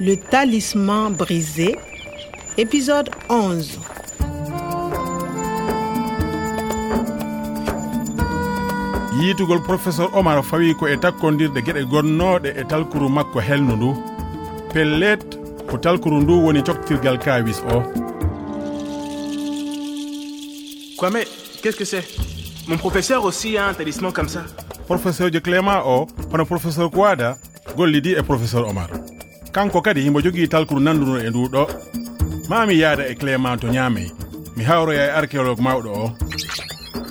Le talisman brisé, épisode 11. yiitugol professeur omar fawi ko e takkodirde gueɗe gonnoɗe e talkuru makko helnu ndu pellet ko talkuru ndu woni coktirgal kawis o Kwame, qu'est-ce que c'est Mon professeur aussi a un talisman comme ça. professeur jo clément o hono professeur kowada gollidi e professeur omar kanko kadi himo jogui talkuru nanduno e ndu ɗo mami yaada e clément to ñaamey mi hawroya e archéologue mawɗo o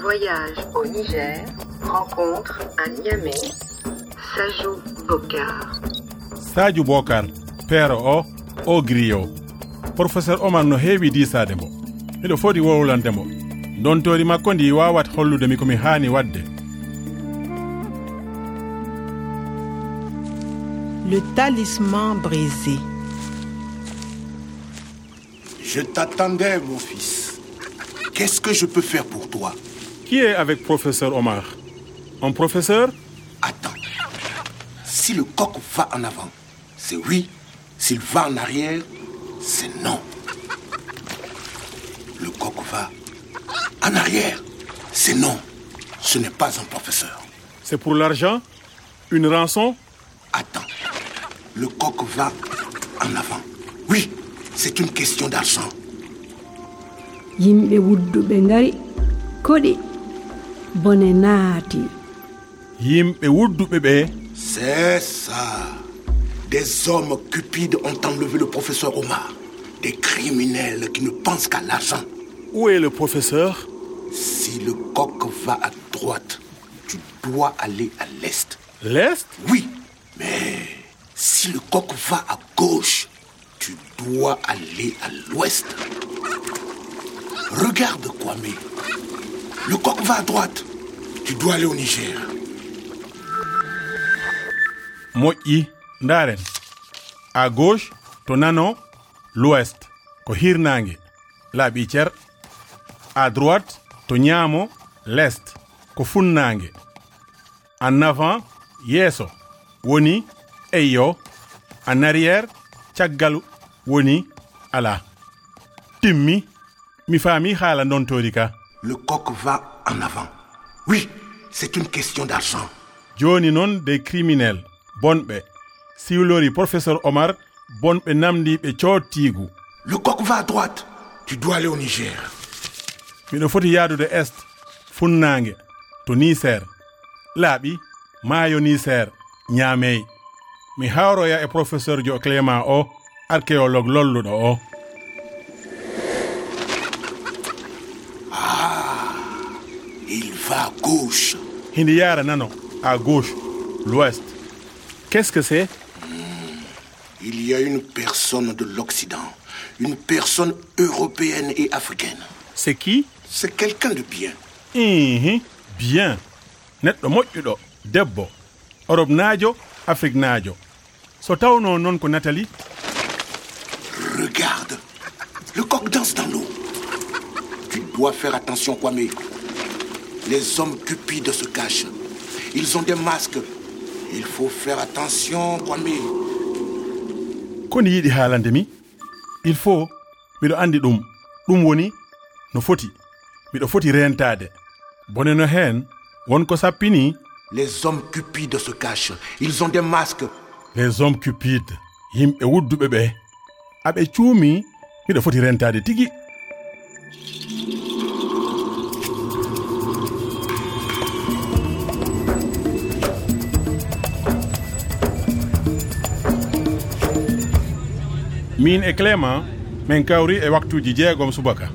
Voyage au Niger, rencontre à Niamey, Sajou Bokar. sadio bocar peero o o griyo professeur omar no heewi disade mo miɗo foti wowlande mo dontori makko ndi wawat holludemi komi haani wadde Le talisman brisé. Je t'attendais, mon fils. Qu'est-ce que je peux faire pour toi Qui est avec professeur Omar Un professeur Attends. Si le coq va en avant, c'est oui. S'il va en arrière, c'est non. Le coq va en arrière, c'est non. Ce n'est pas un professeur. C'est pour l'argent Une rançon Attends. Le coq va en avant. Oui, c'est une question d'argent. yimɓe wudduɓe ngari koɗi bone naati yimɓe wudduɓe ɓe C'est ça. Des hommes cupides ont enlevé le professeur Omar. Des criminels qui ne pensent qu'à l'argent. où est le professeur Si le coq va à droite, tu dois aller à l'est. L'Est Oui, mais si le coq va à gauche, tu dois aller à l'ouest. Regarde, Kwame. Le coq va à droite. Tu dois aller au Niger. moƴƴi ndaren à gauche to nano l'ouest ko hirnangue laaɓi cer à droite to ñaamo l'est ko funnangue en avant yeeso woni eyyo en arrière caggal woni ala timmi mi faami haala dontori ka Le coq va en avant. Oui, c'est une question d'argent. joni noon des criminel bonɓe siwlori professeur omar bonɓe namdiɓe cottigu Le coq va à droite. Tu dois aller au Niger. miɗo foti yaadude est funnaange to niser laaɓi maayo niser ñaamey mi hawroya e professeur jo clément o archéologue lolluɗo o Il va à gauche. hindi yaara nano à gauche l'ouest qu'est ce que c'est Il y a une personne de l'Occident, une personne européenne et africaine. c'est qui C'est quelqu'un de bien. ihi Mhm. bien neɗɗo moƴƴuɗo debbo europe naajo afrique naajo so tawno noon ko natali Regarde, le coq danse dans l'eau. Tu dois faire attention, Kwame. Les hommes cupides se cachent. Ils ont des masques. Il faut faire attention, Kwame. koni yiɗi haalande mi il faut miɗo andi ɗum ɗum woni no foti miɗo foti rentade bone no hen wonko sappini Les hommes cupides se cachent. Ils ont des masques. les hommes cupides yimɓe wudduɓe ɓe aɓe cuumi miɗo foti rentade tigui min e clément min kawri e waktuji jeegom subaka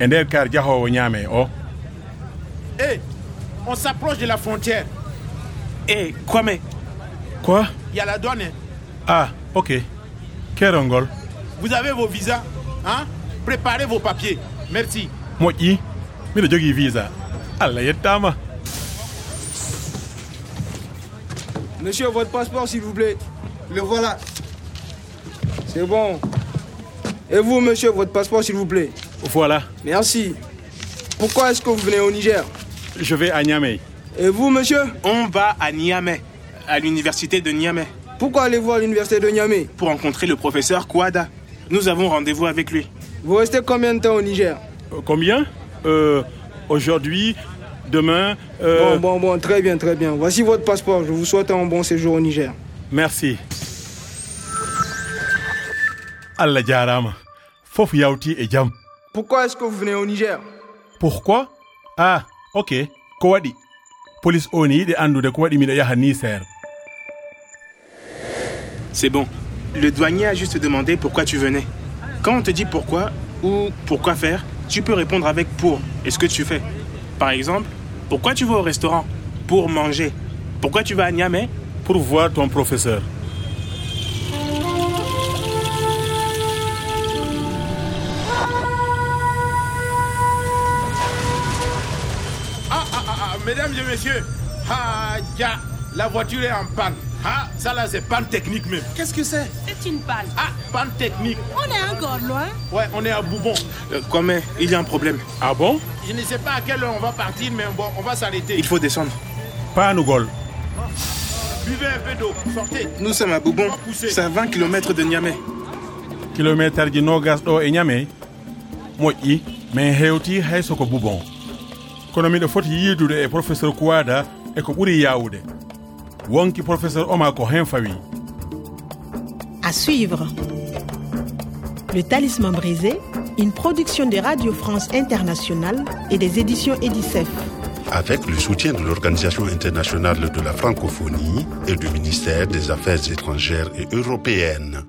e nder kar jahowo ñaame o Hé, on s'approche de la frontière. Hé, Kwame, quoi Il y a la douane. hein. ah ok kerol ngol Vous avez vos visas. Hein Préparez vos papiers. Merci. moƴƴi miɗo jogii visa allah yettama Monsieur, votre passeport, s'il vous plaît. Le voilà. C'est bon. Et vous, monsieur, votre passeport, s'il vous plaît. voilà Merci. Pourquoi est-ce que vous venez au Niger je vais à Niamey Et vous, monsieur on va à Niamey, à l'université de Niamey. Pourquoi allez-vous à l'université de Niamey pour rencontrer le professeur Kouada. Nous avons rendez-vous avec lui. Vous restez combien de temps au Niger Euh, Combien Euh, Aujourd'hui, demain. euh, Bon, bon, bon, très bien, très bien. Voici votre passeport. Je vous souhaite un bon séjour au Niger. Merci. Allah jarama. Fof yawti e jam. Pourquoi est-ce que vous venez au Niger Pourquoi? Ah, ok. Ko waɗi? Police o ni yiɗi andude ko waɗi miɗo yaha Niger. C'est bon. Le douanier a juste demandé pourquoi tu venais. Quand on te dit pourquoi ou pourquoi faire, tu peux répondre avec pour et ce que tu fais. Par exemple, pourquoi tu vas au restaurant Pour manger. Pourquoi tu vas à Niamey Pour voir ton professeur. Ah, ah, ah, ah, mesdames et messieurs, ah, ya, la voiture est en panne. Ah, ça là, c'est panne technique même. Qu'est-ce que c'est C'est une balle. Ah, panne technique. On est encore loin. Ouais, on est à Boubon. Euh, Kwame, il y a un problème. Ah bon? Je ne sais pas à quelle heure on va partir, mais bon, on va s'arrêter. Il faut descendre. Panugol. Buvez un peu d'eau, sortez. Nous sommes à Boubon. Poussez. C'est à 20 km de Niamey. Kilométre ji nogas ɗo e ñame moƴƴi min hewti hay soko bubon kono miɗo foti yiidude e professeur kouwada e ko ɓuri yawude wonki professeur oma ko hen fawi À suivre. Le Talisman brisé, une production de Radio France Internationale et des éditions Edicef. avec le soutien de l'Organisation internationale de la francophonie et du ministère des Affaires étrangères et européennes.